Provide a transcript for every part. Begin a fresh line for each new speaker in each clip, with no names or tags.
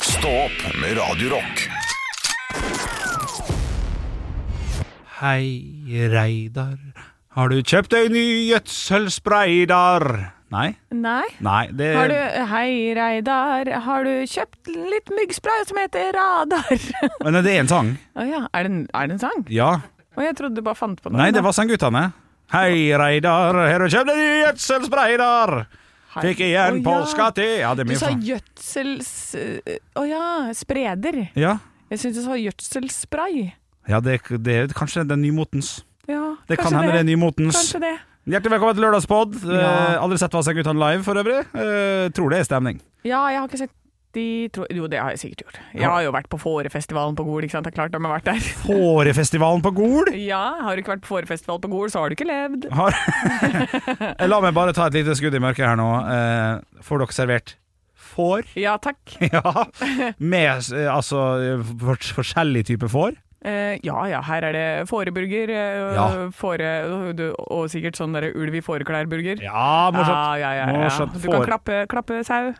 Stå opp med Radio Rock.
Hei, Reidar. Har du kjøpt deg ny gjødselspreidar? Nei?
Nei.
Nei, det
Har du, hei, Reidar, har du kjøpt litt myggspray som heter Radar?
Men er det er en sang.
Å ja, er det, en, er det en sang?
Ja.
Og jeg trodde du bare fant på den.
Nei, det var sangguttene. Hei, Reidar, har du kjøpt deg ny gjødselspreidar? Fikk igjen
Å,
polska te. Ja, det er
Du
mye
sa
faen.
gjødsels... eh, Å ja, spreder.
Ja.
Jeg syns du sa gjødselsspray.
Ja, det, det er kanskje den nymotens.
Ja,
Det
kanskje
kan hende det er nymotens.
Kanskje det.
Hjertelig velkommen til Lørdagspod. Eh,
Ja.
aldri sett Vassendgutane live for øvrig. Eh, tror det er stemning.
Ja, jeg har ikke sett de tro... Jo, det har jeg sikkert gjort. Jeg har jo vært på Fårefestivalen på Gol, ikke sant. Det er klart de har vært der.
Hårefestivalen på Gol.
Ja, har du ikke vært på Fårefestival på Gol, så har du ikke levd.
Har... La meg bare ta et lite skudd i mørket her nå. Eh, får dere servert får?
Ja, takk.
ja. Med eh, altså for, forskjellig type får.
Eh, ja ja, her er det fåreburger. eh,
Ja.
Fåre, og du- og sikkert sånn der ulv i fåreklær-burger.
Ja,
ja,
morsomt.
ja, ja, ja.
Morsomt.
Du kan
Får.
klappe, klappe sau.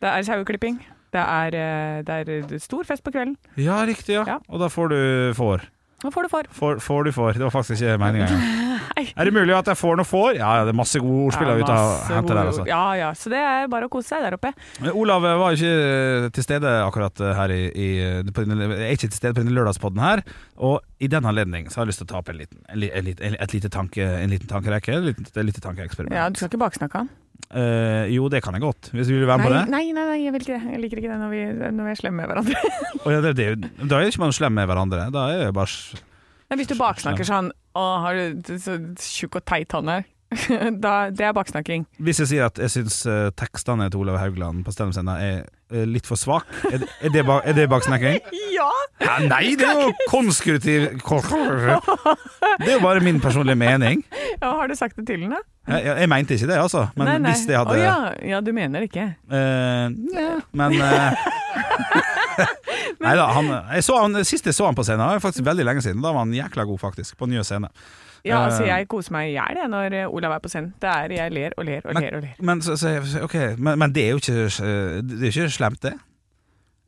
Det er saueklipping. Det er, eh, det er stor fest på kvelden.
Ja, riktig. ja.
Ja.
Og da får du får.
Hva får du for?
Får, får du får. Det var faktisk ikke meninga
Nei.
engang. Er det mulig at jeg får noe får? Ja, ja, det er masse gode ordspill
Ja,
ut av
masse
hente der,
gode-
altså.
Ja ja, så det er bare å kose seg der oppe.
Men Eh, Olav var jo ikke til stede akkurat eh, her i, i på denne, Er ikke til stede på denne lørdagspodden her. Og i den anledning så har jeg lyst til å ta opp en liten, en, li- en, li- en, et lite tanke, en liten tankerekke. Et lite, et lite tankeeksperiment.
Ja, Du skal ikke baksnakke han.
Eh, jo, det kan jeg godt, hvis du vil være med
Nei,
på det.
nei, nei, nei, jeg vil ikke det. Jeg liker ikke det når vi, når vi er slemme med hverandre.
Og ja, det, det, er jo- da er jo ikke man slem med hverandre. Da er jo bare s-
Men hvis du baksnakker sånn Å, har du så tjukk og teit hånd her? Da, det er baksnakking.
Hvis jeg sier at jeg syns eh, tekstene til Olav Haugland på Stemmesenga er eh, litt for svak, er det, er det, ba, er det baksnakking?
Ja!
Ja, nei, det er jo konstruktiv Det er jo bare min personlige mening.
Ja, Har du sagt det til den, da?
Jeg, jeg, jeg mente ikke det, altså. Men
Nei, nei.
hvis jeg hadde
Å ja. ja, du mener det ikke.
eh, Men eh, Nei da. Han, jeg så han, sist jeg så han på scenen, det var faktisk veldig lenge siden. Da var han jækla god, faktisk. På nye scene.
Ja,
Eh.
altså Jeg koser meg i hjel jeg, når eh, Olav er på scenen. Det er jeg ler og ler og ler. og ler
Men, så, så, ok, men, men det er jo ikke, eh, det er jo ikke slemt, det.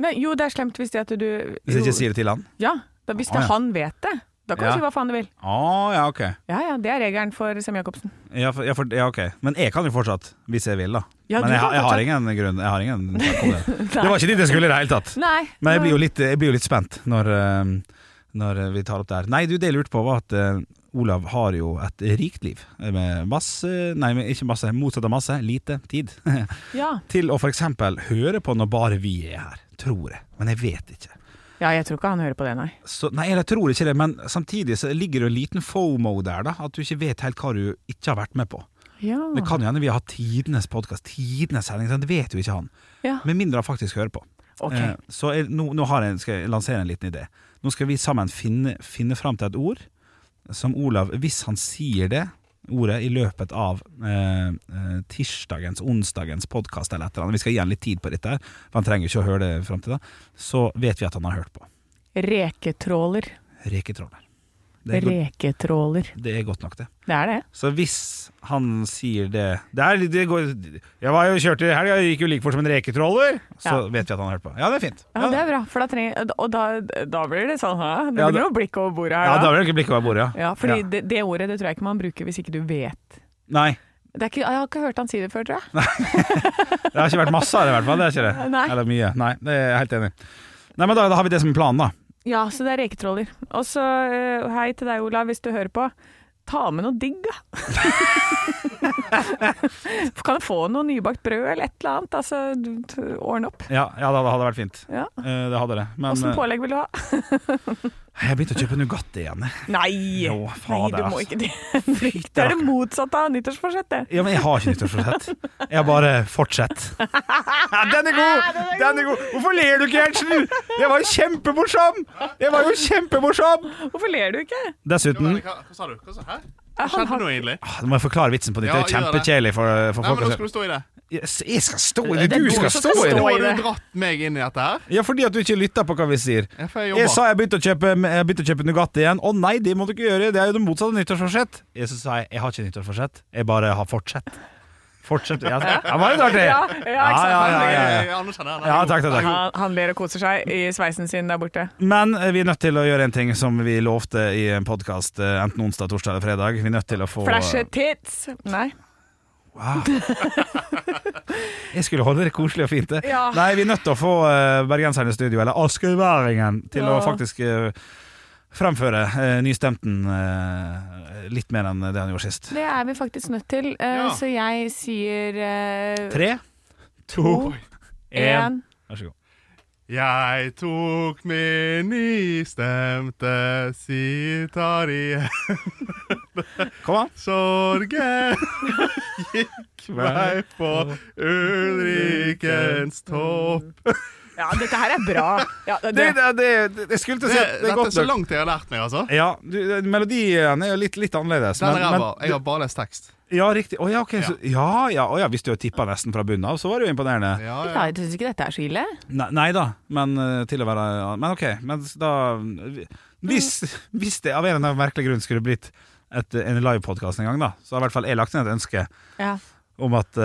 Nei, Jo, det er slemt hvis det at du
Hvis jeg
jo,
ikke sier det til han.
Ja, da, Hvis
Å, ja.
det, han vet det, da kan
Ja.
du si hva faen du vil.
Å ja, ok.
Ja ja, det er regelen for Sem-Jacobsen.
Ja, for, ja, for, ja, ok. Men jeg kan jo fortsatt, hvis jeg vil, da.
Ja,
men
du
jeg,
kan
har- jeg har
fortsatt-
ingen grunn. Jeg har ingen takk om det. det var ikke dit jeg skulle i det hele tatt.
Nei.
Men jeg blir jo litt, jeg blir jo litt spent når, eh, når vi tar opp det her. Nei, du, det jeg lurte på, var at eh, Olav har jo et rikt liv. eh, Med masse Nei, med ikke masse. Motsatt av masse. Lite tid.
ja.
Til å f.eks. høre på når bare vi er her. Tror jeg. Men jeg vet ikke.
ja, jeg tror ikke han hører på det, nei.
Så, nei, jeg tror ikke det, men samtidig så ligger det jo en liten fomo der, da. At du ikke vet helt hva du ikke har vært med på.
Ja.
Det kan jo hende vi har hatt tidenes podkast, tidenes sending, sånn, det vet jo ikke han.
ja.
Med mindre han faktisk hører på.
Ok.
Eh, så jeg, nå, nå har jeg, skal jeg lansere en liten idé. Nå skal vi sammen finne, finne fram til et ord som Olav, hvis han sier det ordet i løpet av eh, eh, tirsdagens, onsdagens podkast eller et eller annet, vi skal gi han litt tid på dette, her, for han trenger jo ikke å høre det fram til da, så vet vi at han har hørt på.
Reketråler.
Reketroller. Det er, godt,
Reketråler.
det er godt nok, det.
Det er det.
Så hvis han sier det Det, er, det går, Jeg var jo kjørt i helga, jeg gikk jo like fort som en reketroller. Så
Ja.
vet vi at han har hørt på. Ja, det er fint.
Ja, det er bra. For da trenger, og da, da blir det sånn, hæ? Det
Ja,
blir
det-
noe blikk over bordet
Ja, da
her, da.
vil jeg ikke blikket over bordet,
Ja, fordi
Ja.
Det, det ordet det tror jeg ikke man bruker hvis ikke du vet.
Nei.
Det er ikke, jeg har ikke hørt han si det før, tror jeg.
Det har ikke vært masse av det, i hvert fall. Det er ikke det.
Nei.
Eller mye. Nei, det er jeg helt enig i. Nei, men da, da har vi det som en plan, da.
Ja, så det er reketroller. Og så eh, hei til deg, Olav, hvis du hører på. Ta med noe digg, da. kan du få noe nybakt brød eller et eller annet? Altså, du- t- ordne opp.
Ja, ja da, det hadde vært fint.
Ja.
Eh, Det hadde det. Men
Åssen
eh,
pålegg vil du ha?
jeg begynte å kjøpe Nugatti igjen. jeg.
Nei!
Jo,
Nei,
fader,
du må
altså.
ikke det. Det er det motsatte av nyttårsforsett, det.
Ja, men jeg har ikke nyttårsforsett. Jeg har bare fortsett. Ja, den er god! Den er god! Hvorfor ler du ikke, Gjertsen? Jeg var jo kjempemorsom! Jeg var jo kjempemorsom!
Hvorfor ler du ikke?
Dessuten
Hva, hva sa du? Hva sa, hæ?
Han
Hva skjedde
har-
nå, egentlig?
Ah, Nå må jeg forklare vitsen på nytt.
Ja,
det er
gjør det.
kjempekjedelig for, for
Nei, men
folk.
Nå
å se.
skal du stå i det.
Yes, Jeg skal stå i
Det er
det! Du
du
skal
som
stå
skal
i
stå
det!
i-
Har du
det.
dratt meg inn i dette her?
Ja, fordi at du ikke lytter på hva vi sier.
Ja, for jeg
Jeg
jobber.
sa jeg begynte å kjøpe, jeg begynte å kjøpe Nugatti igjen. Å nei, det må du ikke gjøre! Det er jo det motsatte av nyttårsforsett. Jeg så sa jeg jeg har ikke nyttårsforsett, jeg bare har fortsett. Fortsett. Ja, ja, var litt artig!
Ja, ja, ikke sant?
Ja, ja, ja, ja.
Jeg anerkjenner den.
Ja, takk, takk, takk.
Han, han ler og koser seg i sveisen sin der borte.
Men eh, vi er nødt til å gjøre en ting som vi lovte i en podkast enten onsdag, torsdag eller fredag. Vi er nødt til å få eh,
Flashe tits! Nei.
Wow. Jeg skulle holde det koselig og fint. det.
Ja.
Nei, vi er nødt til å få eh, bergenserne i studio, eller askøyværingen, til å
Ja.
faktisk eh, fremføre eh, nystemten eh, litt mer enn det han gjorde sist.
Det er vi faktisk nødt til, eh,
Ja.
så jeg sier eh,
Tre, to,
To,
én
en.
Vær så god.
Jeg tok min nystemte sitar i
Kom an.
sorgen. Gikk meg på Ulrikens topp.
Ja, dette her er bra. Ja, det,
Det, det, det, det, jeg skulle til å
Det,
si at det er
dette er
godt
så
nok.
langt jeg har lært meg, altså.
Ja, du, eh, melodien er jo litt, litt annerledes.
Den
men-
er
men-
ræva. Jeg har bare lest tekst.
Ja, riktig. Å ja, ok. Så, ja, ja, å, ja. Hvis du har tippa nesten fra bunnen av, så var det jo imponerende.
Ja,
Ja,
ja.
jeg syns ikke dette er så ille.
Nei, nei da, men eh, til å være ja, Men ok, men da Hvis, hvis det av en eller annen merkelig grunn skulle blitt et, en livepodkast en gang, da, så har i hvert fall jeg lagt inn et ønske
Ja,
om at eh,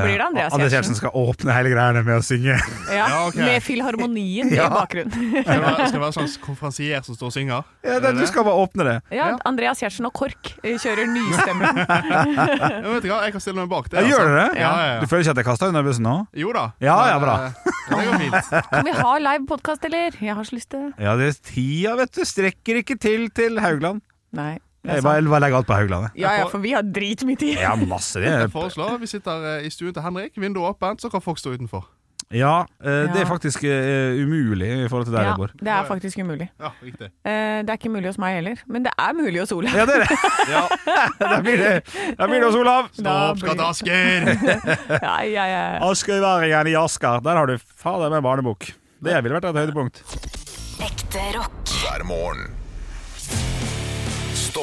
blir det Andreas Gjertsen.
Gjertsen skal åpne hele greiene med å synge.
Ja, ok.
Med filharmonien i
Ja.
bakgrunnen.
Skal det være, skal det være en slags konferansier som står og synger?
Ja,
Er det
det, du
det?
skal bare åpne det.
Ja, Andreas Gjertsen og KORK eh, kjører nystemmen.
Ja, vet du hva, jeg kan stille meg bak det. altså-
Ja, gjør du det?
Ja, ja,
Du
ja.
føler ikke at jeg kasta under bussen nå?
Jo da.
Ja, ja, bra.
Men, eh, Det går fint.
Kan vi ha live podkast, eller? Jeg har så lyst til det.
Ja, det tida, vet du, strekker ikke til til Haugland.
Nei. Det
Jeg
er sant.
bare, bare legger alt på Haugland, jeg.
Ja ja, for vi har dritmye tid.
Ja, masse det.
Jeg foreslår vi sitter eh, i stuen til Henrik, vinduet åpent, så kan folk stå utenfor.
Ja, eh, det
Ja.
er faktisk eh, umulig i forhold til der jeg bor.
det er faktisk umulig.
Ja, riktig.
Eh, det er ikke mulig hos meg heller, men det er mulig hos Ola.
Ja, det er det. da blir det, da blir det hos Olav.
Stå opp, skatt Asker!
Ja, ja, ja.
Askøyværingen i Asker. Der har du fader med barnebok. Det ville vært et høydepunkt.
Ekte rock.
hver morgen. Stå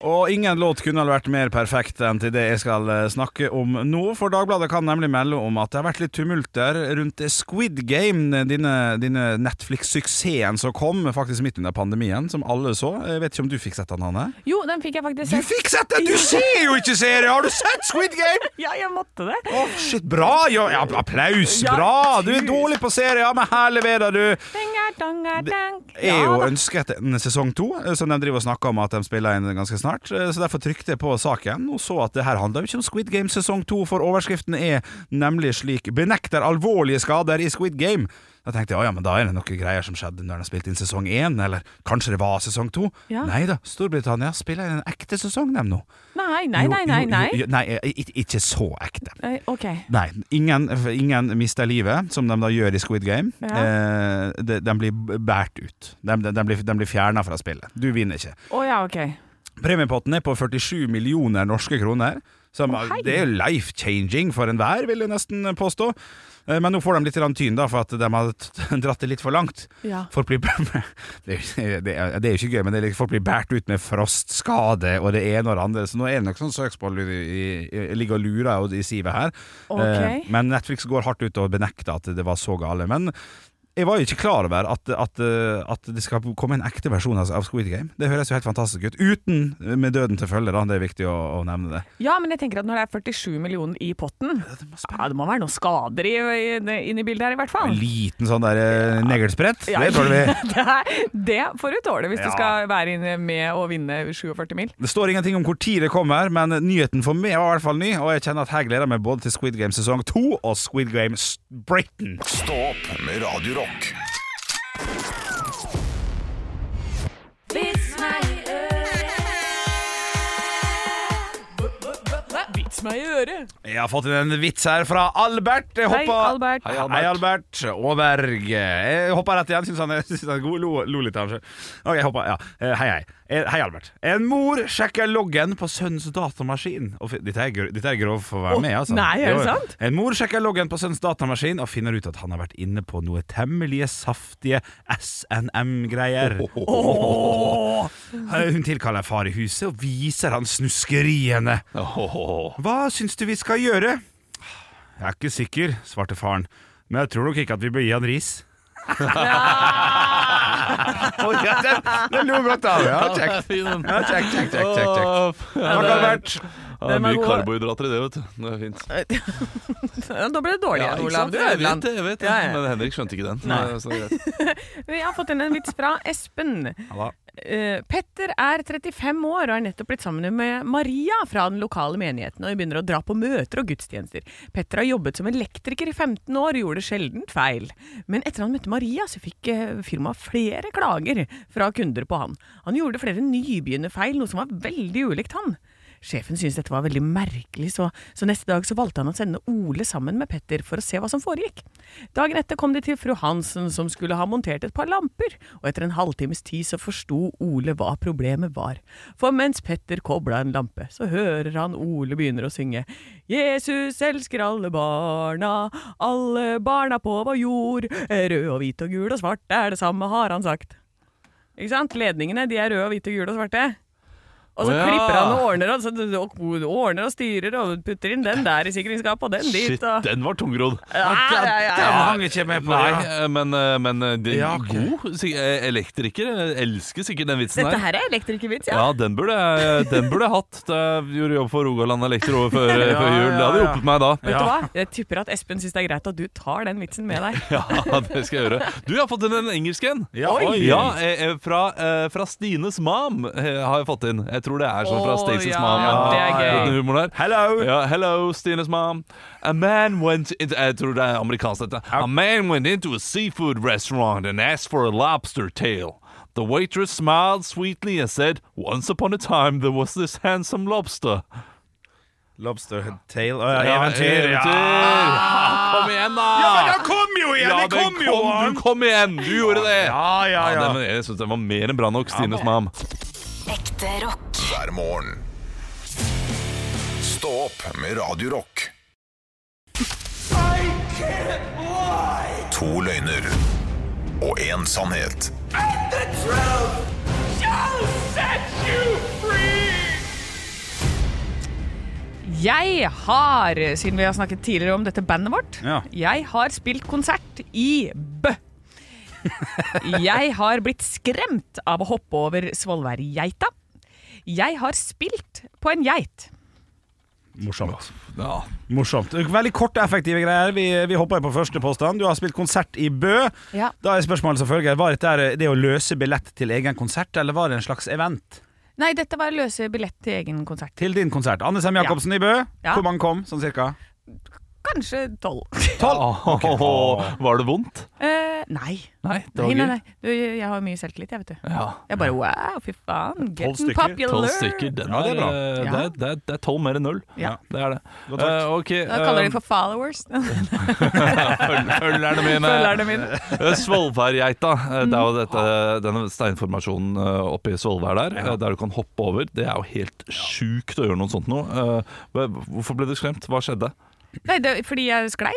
Og ingen låt kunne vel vært mer perfekt enn til det jeg skal eh, snakke om nå, for Dagbladet kan nemlig melde om at det har vært litt tumulter rundt Squid Game, denne, denne Netflix-suksessen som kom faktisk midt under pandemien, som alle så. Jeg vet ikke om du fikk sett den, Hanne?
Jo, den fikk jeg faktisk
Du
sett.
fikk sett den! Du ser jo ikke serier! Har du sett Squid Game?
Ja, jeg måtte det.
Å, shit, bra! Ja, ja, applaus!
Ja,
Bra! Du er
tusen.
dårlig på serier, men her leverer du.
Dinger, donger, dank.
Jeg er
Ja,
jo
da.
ønsket en sesong to, eh, som de driver og snakker om at de spiller inn ganske snart. eh, Så derfor trykte jeg på saken og så at det her handler jo ikke om Squid Game sesong to, for overskriften er nemlig slik 'Benekter alvorlige skader i Squid Game'. Da tenkte jeg «Å ja, men da er det noen greier som skjedde når de spilte inn sesong én, eller kanskje det var sesong to.
Ja.
Nei da, Storbritannia spiller inn en ekte sesong, dem nå.
Nei, nei, nei, nei.
Jo, jo,
nei.
jo, nei eh, ikke- ikke så ekte.
Eh, Ok.
Nei, ingen, ingen mister livet, som de da gjør i Squid Game. Eh, de, de blir båret ut. De, de, de blir, de blir fjerna fra spillet. Du vinner ikke.
Å ja, ok.
Premiepotten er på 47 millioner norske kroner. Som,
Å, hei.
det er life-changing for enhver, vil jeg nesten påstå. Eh, Men nå får de litt grann tyn da, for at de har t- dratt det litt for langt.
Ja.
Folk blir Det er jo- det er det er jo ikke gøy, men det er, liksom- folk blir båret ut med frostskade og det ene og det andre. Så nå er det nok sånn søksmål i- i- i- ligger og lurer og i sivet her.
Ok.
Eh, Men Netflix går hardt ut og benekter at det var så gale. Men jeg var jo ikke klar over at, at, eh, at det skal komme en ekte versjon av av Squid Game. Det høres jo helt fantastisk ut. Uten eh, med døden til følge, da. Det er viktig å, å nevne det.
Ja, men jeg tenker at når det er 47 millioner i potten ja, Det må være noen skader i, i, inne i bildet her, i hvert
En
fall.
liten sånn der eh, neglesprett.
Ja.
Det tåler vi.
Det, er, det får du tåle hvis
Ja.
du skal være inne med å vinne 47 mil.
Det står ingenting om hvor tid det kommer, men nyheten for meg var i hvert fall ny, og jeg kjenner at her gleder jeg meg både til Squid Game sesong 2 og Squid Game S- Britain.
Stå opp med Radio Rock.
Vits meg i øret!
Jeg har fått inn en vits her fra Albert. Jeg
Hei,
hopper...
Albert.
Hei, Albert. Aaberg. Jeg hoppa rett igjen. Syns han, er- synes han er god. Lo, lo litt av han selv. Ok, jeg hoppa. Ja. Eh, Hei, hei. Eh, Hei, Albert. En mor sjekker loggen på sønnens datamaskin og fi- Dette er, gro- dette er grovt for å være
Å,
med, altså.
nei, er det
Jo, jo.
sant?
En mor sjekker loggen på sønnens datamaskin og finner ut at han har vært inne på noe temmelige saftige SNM-greier. Hun tilkaller far i huset og viser han snuskeriene. Hva syns du vi skal gjøre? Jeg er ikke sikker, svarte faren. Men jeg tror nok ikke at vi bør gi han ris.
Ja.
Å, ja, den, den lo godt av. Ja, kjekt. Ja, kjekt, kjekt, kjekt, kjekt, kjekt. Takk, Albert.
Det er
Den var
mye
god.
karbohydrater i det, vet du. Det er fint.
Da ble det dårlig igjen,
ikke
Olav.
sant?
Du
Jeg
ødela den.
vet det, jeg vet det.
Ja, ja.
Men Henrik skjønte ikke den.
Nei.
Så det er greit.
Vi har fått inn en vits fra Espen.
Halla.
Eh, Petter er 35 år og er nettopp blitt sammen med Maria fra den lokale menigheten, og de begynner å dra på møter og gudstjenester. Petter har jobbet som elektriker i 15 år og gjorde sjeldent feil. Men etter han møtte Maria, så fikk eh, firmaet flere klager fra kunder på han. Han gjorde flere nybegynnerfeil, noe som var veldig ulikt han. Sjefen syntes dette var veldig merkelig, så, så neste dag så valgte han å sende Ole sammen med Petter for å se hva som foregikk. Dagen etter kom de til fru Hansen, som skulle ha montert et par lamper, og etter en halvtimes tid så forsto Ole hva problemet var. For mens Petter kobla en lampe, så hører han Ole begynner å synge Jesus elsker alle barna, alle barna på vår jord, rød og hvit og gul og svart er det samme, har han sagt. Ikke sant? Ledningene de er røde og hvite og gule og svarte. Og så
Å ja.
klipper han og ordner og, så, og ordner og styrer og putter inn den der i sikringsskapet og den dit.
Shit,
Og...
den var tungrodd.
Ja, ja, ja, ja.
Den hang ikke med på.
Nei,
Ja.
eh, men, eh, men eh, det er
Ja, ok.
god si- eh, elektriker. eh, Elsker sikkert den vitsen
Dette
her.
her er elektrikervits, ja.
Ja, den burde, jeg, den burde jeg hatt da jeg gjorde jobb for Rogaland Elektro før,
Ja,
før jul. Det
ja,
hadde
ja.
hjulpet meg da.
Vet du
Ja.
hva? Jeg tipper at Espen syns det er greit at du tar den vitsen med deg.
Ja, det skal jeg gjøre. Du, jeg har fått inn en engelsk en.
Ja, oi.
Ja, eh, eh, fra, eh, fra Stines mam eh, har jeg fått inn. Jeg tror det er sånn fra
Å,
Stacey's
ja,
mam.
det er
eh,
gøy.
den humoren der.
Hello.
Ja, hello, Stines mom. A man went into, Jeg tror det er amerikansk, dette. A man went into a seafood restaurant and asked for a lobster tail. The waitress smiled sweetly and said, Once upon a time there was this handsome lobster.
Lobster tail Å, ja,
Ja,
Eventyr. Ja. Ah,
Ja, Kom igjen, da!
den kom jo
Ja,
igjen!
den kom, du kom igjen! Du gjorde det!
Ja, ja,
Ja,
ja.
den, jeg syns den var mer enn bra nok, Stines mam.
Ekte rock.
hver morgen. Stå opp med Radio Rock. To løgner og én sannhet.
Jeg har, siden vi har snakket tidligere om dette bandet vårt,
Ja.
jeg har spilt konsert i Bø. Jeg har blitt skremt av å hoppe over Svolværgeita. Jeg har spilt på en geit.
Morsomt.
Ja.
Morsomt. Veldig korte, effektive greier. Vi, vi hopper på første påstand. Du har spilt konsert i Bø.
Ja.
Da er spørsmålet som følger Var dette her det å løse billett til egen konsert, eller var det en slags event?
Nei, dette var løse billett til egen konsert.
Til din konsert. Anne Sem Jacobsen i Bø.
Ja.
Hvor mange kom, sånn cirka?
Kanskje tolv.
Åh, var det vondt?
Eh, nei.
Nei, det
Nei,
var
nei,
gøy.
nei. Du, jeg har mye selvtillit, jeg, vet du.
Ja.
Jeg bare wow, fy faen. Getting
stykker.
Tolv
popular.
stykker. Den
Ja, det er bra.
eh,
Ja.
det, er, det, er, det er tolv mer enn null.
Ja.
Det er det.
Godt sagt.
Eh, ok,
Da kaller
eh,
de for followers.
føl- Følgerne mine.
Følgerne Mm. mine.
Eh, Svolværgeita. eh, Det er jo dette, denne steinformasjonen eh, oppe i Svolvær der, eh, der du kan hoppe over. Det er jo helt sjukt å gjøre noe sånt nå. Eh, hva- Hvorfor ble du skremt? Hva skjedde?
Nei, det, fordi jeg sklei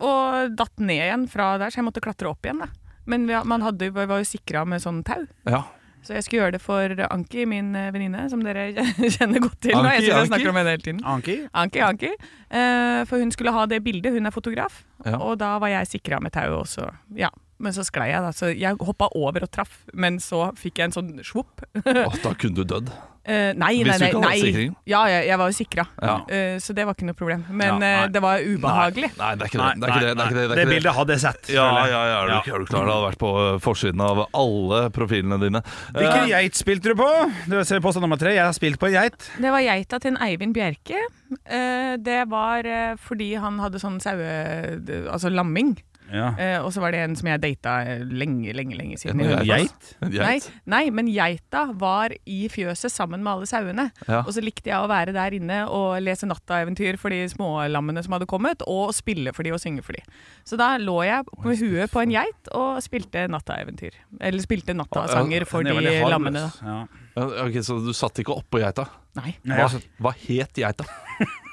og datt ned igjen fra der, så jeg måtte klatre opp igjen. da. Men vi, man hadde, vi var jo sikra med sånn tau.
Ja.
Så jeg skulle gjøre det for Anki, min eh, venninne, som dere kjenner godt til. nå.
Anki,
jeg synes jeg
Anki?
snakker om henne hele tiden.
Anki?
Anki, Anki. Eh, for hun skulle ha det bildet, hun er fotograf.
Ja.
Og da var jeg sikra med tau også. Ja. Men så sklei jeg, da. Så jeg hoppa over og traff. Men så fikk jeg en sånn svopp.
Åh, da kunne du dødd.
Eh, nei, nei,
Hvis du
nei.
ikke hadde
nei.
sikringen?
Ja, jeg, jeg var jo sikra,
Ja.
Eh, så det var ikke noe problem. Men
Ja, nei.
eh, det var ubehagelig.
Nei, det er ikke det. Det, er ikke det, det, er ikke det, det, er
Det
ikke det.
bildet hadde jeg sett.
Ja,
føler jeg.
ja, ja, er du, er du klar? Det hadde vært på eh, forsiden av alle profilene dine.
Hvilken geit spilte du på? Du ser påstand nummer tre. Jeg har spilt på en geit.
Det var geita til en Eivind Bjerke. Eh, det var eh, fordi han hadde sånn saue... d- Altså lamming.
Ja.
Eh, og så var det en som jeg data eh, lenge, lenge lenge siden. i
En
Hønefoss.
geit?
Geit?
En
Nei,
geit.
nei, men geita var i fjøset sammen med alle sauene.
Ja.
Og så likte jeg å være der inne og lese nattaeventyr for de smålammene som hadde kommet, og spille for de og synge for de. Så da lå jeg med huet på en geit og spilte nattaeventyr. Eller spilte nattasanger for
Den er
de
veldig harmløs.
lammene. da.
Ja.
Ja, ok, Så du satt ikke oppå geita?
Nei.
Nei,
Hva,
altså,
hva het geita?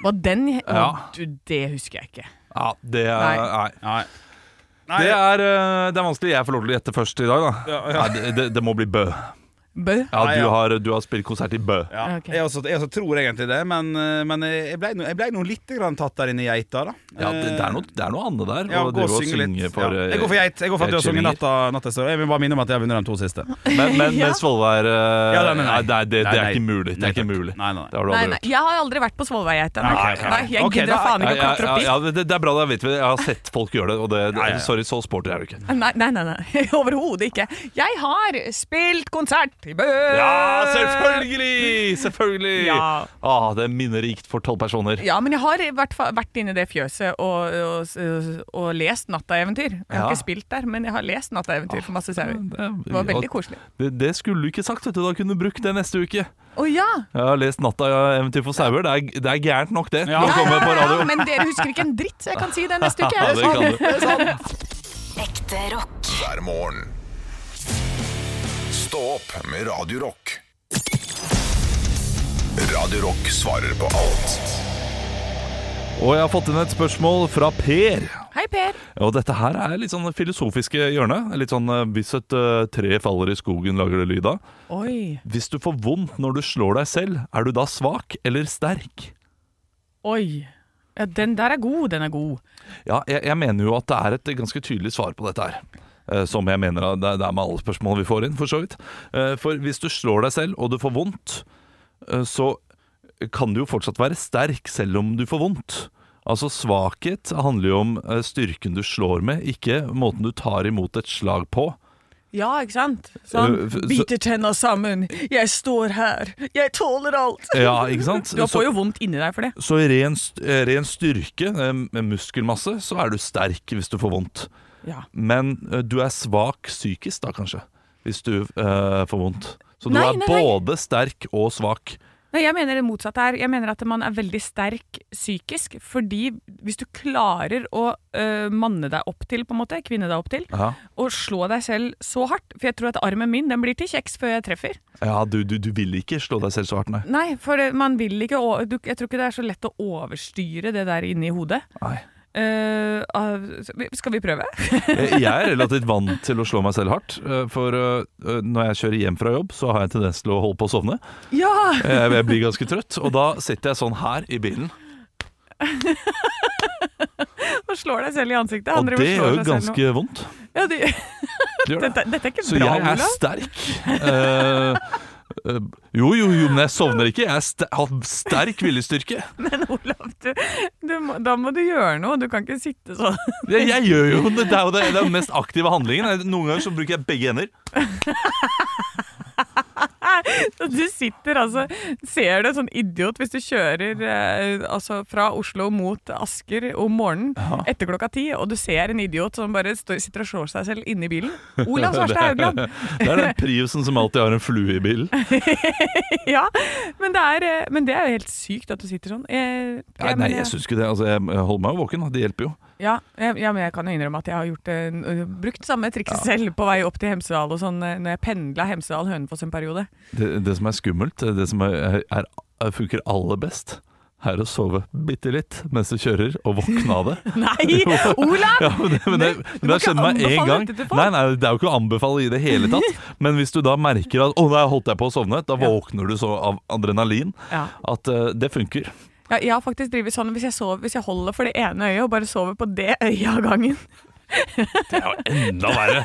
Var den Å,
Ja.
du, det husker jeg ikke.
Ja, det er
Nei.
Nei.
nei. Nei,
Det, er, eh, det er vanskelig. Jeg får lov til å gjette først i dag, da.
ja, ja.
Nei, det, det, det må bli Bø.
Bø.
Ja,
Nei,
du
ja.
har, du har spilt konsert i Bø.
Ja,
Ah, Ok.
jeg, også, jeg også tror egentlig det, men, eh, men jeg ble nå- jeg ble nå litt grann tatt der inne i geita, da. Eh,
Ja, det, det, er noe, det er noe annet der.
Ja, gå
å
og
drive og
synge litt.
for,
ja.
eh,
Jeg går for geit. Jeg går for at du har sunget
geitkillinger.
natta, natta står. Jeg vil bare minne om at jeg har vunnet de to siste.
Men, men,
Ja.
men Svolvær eh,
Ja, nei, nei,
nei,
nei.
nei, det, det er
Nei, nei.
ikke mulig. Det
Nei,
er ikke
takk.
mulig.
Nei, nei, nei.
Det har
Nei,
du aldri
nei,
gjort.
jeg har aldri vært på Svolværgeita. Nei,
Nei, nei, nei.
jeg
Ok,
gidder
da-
faen
Ja,
ikke å
ja,
klatre
ja,
opp dit.
ja, det, det er bra, da vet vi det. Jeg har sett folk gjøre det. Og det,
Ja, ja, ja.
Sorry, så sporty er du ikke.
Nei, nei, nei. nei. Overhodet ikke. Jeg har spilt konsert i Bø!
Ja, selvfølgelig! Selvfølgelig!
Eh. Ja.
Ah, det er minnerikt for tolv personer.
Ja, men jeg har i hvert fall vært inne i det fjøset og, og, og lest Nattaeventyr. Jeg har
Ja. Ah,
ikke spilt der, men jeg har lest Nattaeventyr for masse sauer.
Det, er-
Det var veldig koselig.
Det, det skulle du ikke sagt, vet du. Da kunne du brukt det neste uke.
Å ja!
Jeg har lest 'Natta ja, eventyr for sauer'. Det, er- det er gærent nok, det.
Ja.
Å komme på radio.
Ja, men dere husker ikke en dritt, så jeg kan si det neste uke.
Ja, det kan du.
Ekte rock.
hver morgen. Stå opp med Radio Rock. Radio Rock svarer på alt
Og jeg har fått inn et spørsmål fra Per.
Hei, Per.
Og dette her er litt sånn filosofiske hjørne. Litt sånn eh, hvis et eh, tre faller i skogen, lager det lyd av.
Oi.
Hvis du får vondt når du slår deg selv, er du da svak eller sterk?
Oi. Ja, den der er god. Den er god.
Ja, jeg, jeg mener jo at det er et ganske tydelig svar på dette her. Eh, Som jeg mener at det det er med alle spørsmål vi får inn, for så vidt. Eh, For hvis du slår deg selv, og du får vondt, eh, så kan du jo fortsatt være sterk selv om du får vondt. Altså svakhet handler jo om eh, styrken du slår med, ikke måten du tar imot et slag på.
Ja, ikke sant?
Øh,
Sånn,
f- så-
biter tenna sammen, jeg står her, jeg tåler alt.
Ja, ikke sant?
Du
Så-
får jo vondt inni deg for det.
Så i ren, st- eh, ren styrke, eh, med muskelmasse, så er du sterk hvis du får vondt.
Ja.
Men eh, du er svak psykisk da, kanskje, hvis du eh, får vondt. Så du
Nei,
er
nei, nei.
både sterk og svak.
Nei, jeg mener det motsatte her. Jeg mener at man er veldig sterk psykisk, fordi hvis du klarer å øh, manne deg opp til, på en måte, kvinne deg opp til,
Ja,
og slå deg selv så hardt, for jeg tror at armen min, den blir til kjeks før jeg treffer.
ja du, du, du vil ikke slå deg selv så hardt, nei.
Nei, for det- man vil ikke, å- du- jeg tror ikke det er så lett å overstyre det der inni hodet.
nei.
Øh, av- skal vi prøve?
Eh, Jeg er relativt vant til å slå meg selv hardt, eh, for eh, eh, når jeg kjører hjem fra jobb, så har jeg tendens til å holde på å sovne.
Ja!
Eh, Jeg blir ganske trøtt, og da sitter jeg sånn her i bilen.
Og slår deg selv i ansiktet.
Og
Han driver
det
slår
gjør jo
seg selv nå.
ganske vondt.
Ja, det,
Det gjør det.
dette, dette er ikke
Så
bra,
jeg er
Olav.
sterk. Eh, eh, jo, jo, jo, men jeg sovner ikke. Jeg er ster- har sterk viljestyrke.
Men Olav, du, du, må- da må du gjøre noe. Du kan ikke sitte sånn.
Jeg, jeg gjør jo det. Det er jo det, det er den mest aktive handlingen. Jeg- Noen ganger så bruker jeg begge hender.
Du sitter altså Ser du en sånn idiot hvis du kjører eh, altså fra Oslo mot Asker om morgenen etter klokka ti, og du ser en idiot som bare står, sitter og slår seg selv inni bilen? Olav Svarstad Haugland!
Det er den Priusen som alltid har en flue i bilen.
Ja, men det, er, eh, men det er jo helt sykt at du sitter sånn. Jeg,
Nei, nei jeg syns ikke det. Altså, jeg holder meg jo våken. da. Det hjelper jo.
Ja, jeg, ja, men jeg kan jo innrømme at jeg har gjort, det- n- eh, brukt samme trikset selv på vei opp til Hemsedal og sånn, eh, når jeg pendla Hemsedal-Hønefoss en periode.
Det, det som er skummelt, det som er, er, er, funker aller best, er å sove bitte litt mens du kjører, og våkne av det.
Nei, Olav!
Ja, men det, men det,
Men du
men
må
jeg
ikke
skjønner meg en
anbefale
gang
dette til folk.
nei, nei, Det er jo ikke å anbefale i det hele tatt. Men hvis du da merker at 'Å, nei, holdt jeg på å sovne', da
Ja.
våkner du så av adrenalin
Ja.
at eh, det funker.
Ja, jeg har faktisk drevet sånn hvis jeg, sover, hvis jeg holder for det ene øyet og bare sover på det øyet av gangen.
Det er jo enda verre!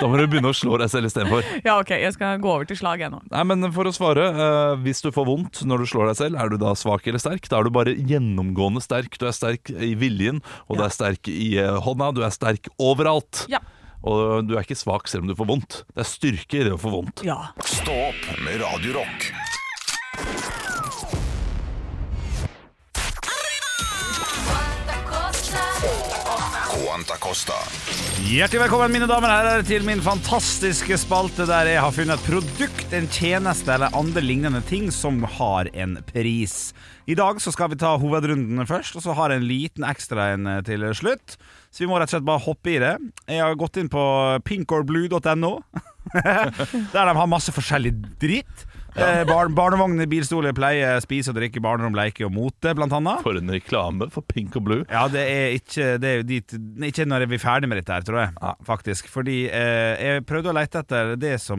Da må du begynne å slå deg selv istedenfor.
Ja, ok, jeg skal gå over til slag jeg nå.
Nei, men for å svare. eh, hvis du får vondt når du slår deg selv, er du da svak eller sterk? Da er du bare gjennomgående sterk. Du er sterk i viljen, og du er sterk i eh, hånda. Du er sterk overalt.
Ja.
Og du er ikke svak selv om du får vondt. Det er styrke i det å få vondt.
Ja.
Stå opp med Radio Rock Quanta Costa
Hjertelig velkommen, mine damer og herrer, til min fantastiske spalte der jeg har funnet et produkt, en tjeneste eller andre lignende ting som har en pris. I dag så skal vi ta hovedrunden først, og så har jeg en liten ekstra en eh, til slutt. Så vi må rett og slett bare hoppe i det. Jeg har gått inn på pinkorblue.no, der de har masse forskjellig dritt. Eh, barn, barnevogner, bilstoler, pleie, spise og drikke, barnerom, leike og mote, blant annet.
For en reklame for Pink og Blue.
Ja, det er ikke, det er jo dit, ikke når vi er ferdig med dette her, tror jeg. Faktisk. Fordi eh, jeg prøvde å lete etter det som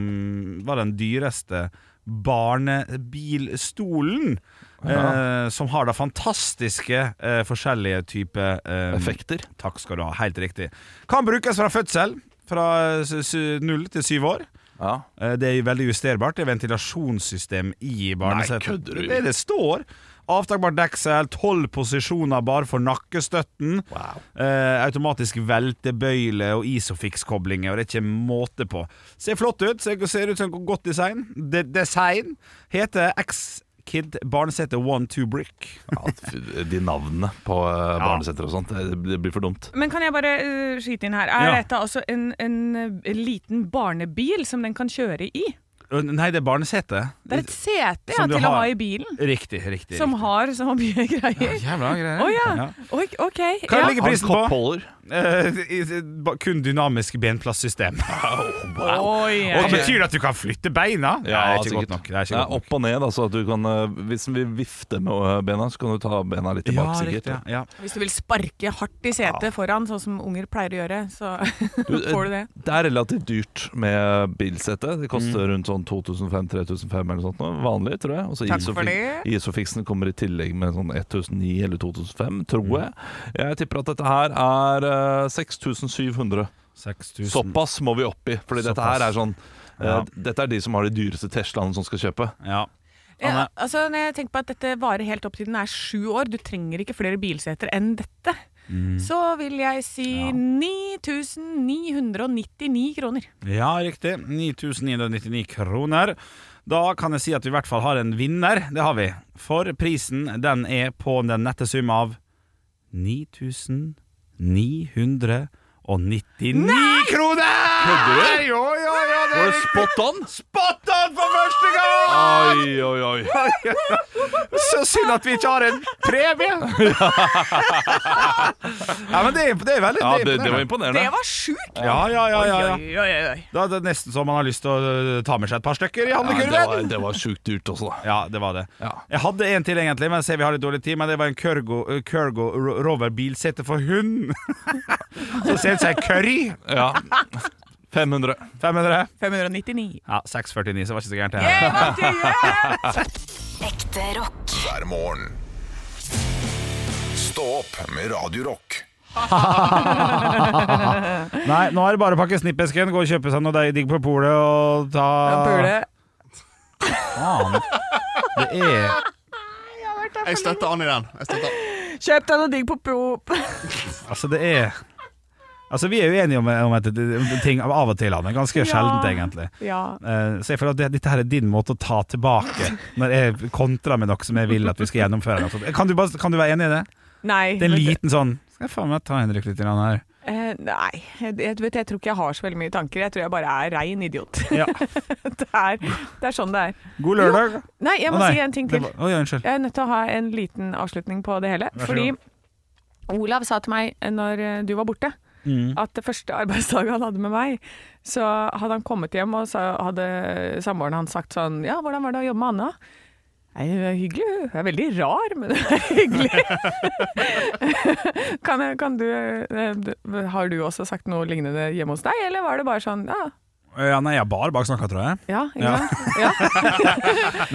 var den dyreste barnebilstolen. Eh, som har da fantastiske eh, forskjellige typer eh,
Effekter.
Takk skal du ha. Helt riktig. Kan brukes fra fødsel. Fra s- s- null til syv år.
Ja.
Eh, Det er jo veldig justerbart. Det er ventilasjonssystem i barnesetet.
Nei, kødder du?
Det er det det står. Avtakbart deksel, tolv posisjoner bare for nakkestøtten.
Wow.
Eh, automatisk veltebøyle og Isofix-koblinger, og det er ikke måte på. Ser flott ut. Ser, ser ut som et godt design. De design heter X-Kid barnesete One Two Brick.
Ja, fy- de navnene på eh, barnesetter og sånt, det det blir for dumt.
Men kan jeg bare eh, skyte inn her? Er
Ja.
dette altså en, en eh, liten barnebil som den kan kjøre i?
Ø, Nei, det er barnesete.
Det er et sete ja,
Som du
til å
har.
ha i bilen,
Riktig, riktig.
som
riktig.
har så mye greier.
Jævla greier.
Å ja. Oi, OK.
Hva
Ja.
ligger prisen på?
Han koppholder.
Eh, i- i- ba- kun dynamisk benplasssystem.
Oi, eh,
Og
ja.
Ok.
Betyr det at du kan flytte beina? Ja, det er ikke godt
sikkert.
nok. Det er ikke
Nei,
godt nok.
opp og ned, altså. At du kan, eh, hvis vi vifter med eh, bena, så kan du ta bena litt tilbake. sikkert.
riktig, ja.
Hvis du vil sparke hardt i setet foran, sånn som unger pleier å gjøre, så
Du, eh,
får du det.
Det er relativt dyrt med bilsette. Det koster
Mm.
rundt sånn 2005-3500 eller noe sånt. nå. Vanlig, tror jeg. Og så
Takk for det.
Isofix- Isofixen kommer i tillegg med sånn 1009 eller 2005, tror
Mm.
jeg. Jeg tipper at dette her er eh, 6700.
6000.
Såpass må vi opp i. Fordi dette
Såpass.
her er sånn eh,
Ja.
Dette er de som har de dyreste Teslaene som skal kjøpe.
Ja.
Ja, altså, når jeg tenker på at dette varer helt opp til den er sju år, du trenger ikke flere bilseter enn dette,
Mm.
så vil jeg si 9999 kroner.
ja, riktig. 9999 kroner. Da kan jeg si at vi i hvert fall har en vinner. Det har vi. For prisen den er på den nette sum av 9999 kroner!
Kødder du?
Jo, jo, jo, det
Var
er
det spot on?
spot on for første gang!
Oi, oi, oi.
Så synd at vi ikke har en premie! ja, men det er, det er veldig
Ja, det, det
imponerende.
var imponerende.
Det var sjukt!
ja, ja, ja, ja, ja.
Oi, oi, oi.
Da er det nesten så man har lyst til å øh, ta med seg et par stykker i
Ja, det var,
handlekurven.
det var sjukt dyrt også, da.
Ja, det var det.
Ja.
Jeg hadde en til, egentlig, men jeg ser vi har litt dårlig tid. Men det var en Kurgo, øh, Kurgo Ro- Rover bilsete for hund. Så ser det seg curry.
Ja. 500.
500.
599.
Ja, 649, så det var ikke så gærent. det her.
Jeg vant igjen!
Ekte rock.
hver morgen. Stå opp med Radio Rock.
Nei, nå er det bare å pakke snippesken, gå og kjøpe seg noe deig- digg på polet og ta Faen. Det er
Jeg støtter Ann i den. Jeg støtter.
Kjøp deg noe digg på prop.
Altså, det er Altså, vi er jo enige om, om at det- det- ting av og til, Anne. Ganske sjeldent, egentlig.
Ja.
Eh, Så jeg føler at det- dette her er din måte å ta tilbake når jeg kontrer med noe som jeg vil at vi skal gjennomføre. eller noe sånt. Kan du, bare, kan du være enig i det?
Nei.
Det er en
vet du-
liten sånn Skal jeg faen meg ta Henrik litt grann her?
Eh, nei, jeg, jeg, vet, jeg tror ikke jeg har så veldig mye tanker. Jeg tror jeg bare er rein idiot.
Ja.
det, er, det er sånn det er.
God lørdag.
Nei, jeg må
Å, nei.
si en ting
Det
til.
var- Oi, unnskyld.
Jeg er nødt til å ha en liten avslutning på det hele.
Vær så
Fordi
god.
Olav sa til meg eh, når eh, du var borte,
Mm.
at det første arbeidsdagen han hadde med meg, så hadde han kommet hjem, og så hadde samboeren hans sagt sånn Ja, hvordan var det å jobbe med Anna? Nei, hun er hyggelig. hun. Hun er veldig rar, men hun er hyggelig. kan, jeg- kan du, eh, du- har du også sagt noe lignende hjemme hos deg, eller var det bare sånn ja,
Ja, nei, jeg bare baksnakka, tror jeg.
ja, ikke
Ja.
sant? Ja.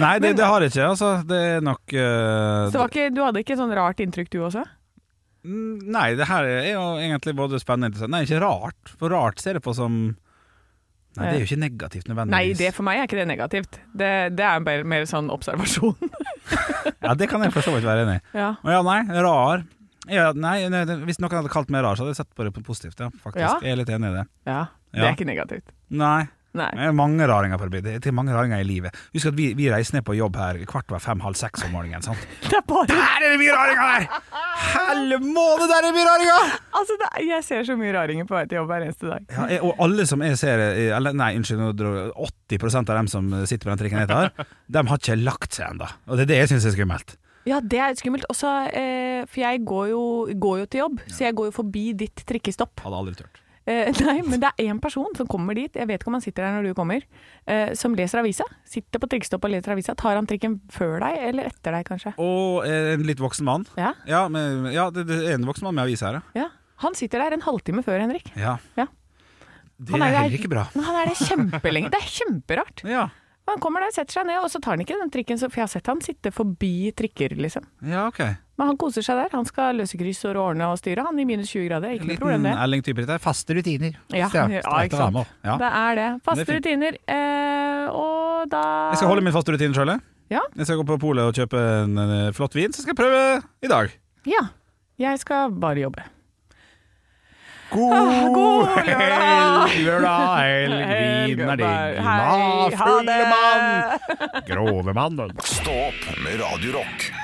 Nei, det, det har jeg ikke. Altså, det er nok eh,
Så det var ikke, du hadde ikke sånn rart inntrykk du også?
Mm, Nei, det her er jo egentlig både spennende og interessant. Nei, ikke rart. For rart ser jeg på som Nei, det er jo ikke negativt
Nei,
nødvendigvis.
det for meg er ikke det negativt. Det, det er bare mer sånn observasjon.
Ja, det kan jeg for så vidt være enig i.
ja.
Å ja, nei, rar. Ja, nei, nei, det- hvis noen hadde kalt meg rar, så hadde jeg sett på det på positivt. Ja, faktisk.
Ja.
Jeg er litt enig i det.
ja. Det
Ja.
er ikke negativt.
Nei,
Nei.
det er mange raringer på det. blir- Det er mange raringer i livet. Husk at vi, vi reiser ned på jobb her kvart over fem, halv seks om morgenen. sant?
Det er bare
Der er det mye raringer der! Helle måned, der er det mye raringer!
Altså, det er, jeg ser så mye raringer på vei til jobb hver eneste dag.
Ja, jeg, og alle som jeg ser eh, Eller nei, unnskyld, nå dro- 80 av dem som eh, sitter på den trikken jeg tar, de har ikke lagt seg ennå. Og det er det jeg syns er skummelt.
Ja, det er skummelt. Også, eh, for jeg går jo, går jo til jobb, så jeg går jo forbi ditt trikkestopp.
Hadde aldri turt.
Eh, Eh, nei, men det er én person som kommer dit, jeg vet ikke om han sitter der når du kommer, eh, som leser avisa. Sitter på trikkstoppet og leser avisa. Tar han trikken før deg, eller etter deg, kanskje?
Og eh, en litt voksen mann.
Ja.
Ja, men, ja det, det er en voksen mann med avis her,
ja. Han sitter der en halvtime før, Henrik.
ja.
Ja.
Det
Han
er
der-
heller ikke bra.
Men han er der kjempelenge. Det er kjemperart.
Ja,
Han kommer der, setter seg ned, og så tar han ikke den trikken. så- For jeg har sett han sitte forbi trikker, liksom.
ja ok.
Men han koser seg der. Han skal løse kryssord og ordne og styre, han i minus 20 grader. Ikke noe problem,
Liten
det.
Erling-type. dette er Faste rutiner.
Ja,
Strakte
ja, ikke sant.
rammer. Ja.
Det er det. Faste
Det er fint.
rutiner. Eh, og da
Jeg skal holde min faste rutine sjøl.
Ja.
Jeg skal gå på polet og kjøpe en, eh, flott vin, så skal jeg prøve i dag.
Ja. Jeg skal bare jobbe. Ah,
God,
god lørdag!
helg, lørdag, helg, vinen er
Helg,
digg.
hei, ha
Fulle
det!
mann, grove mannen.
Stå opp med Radio Rock.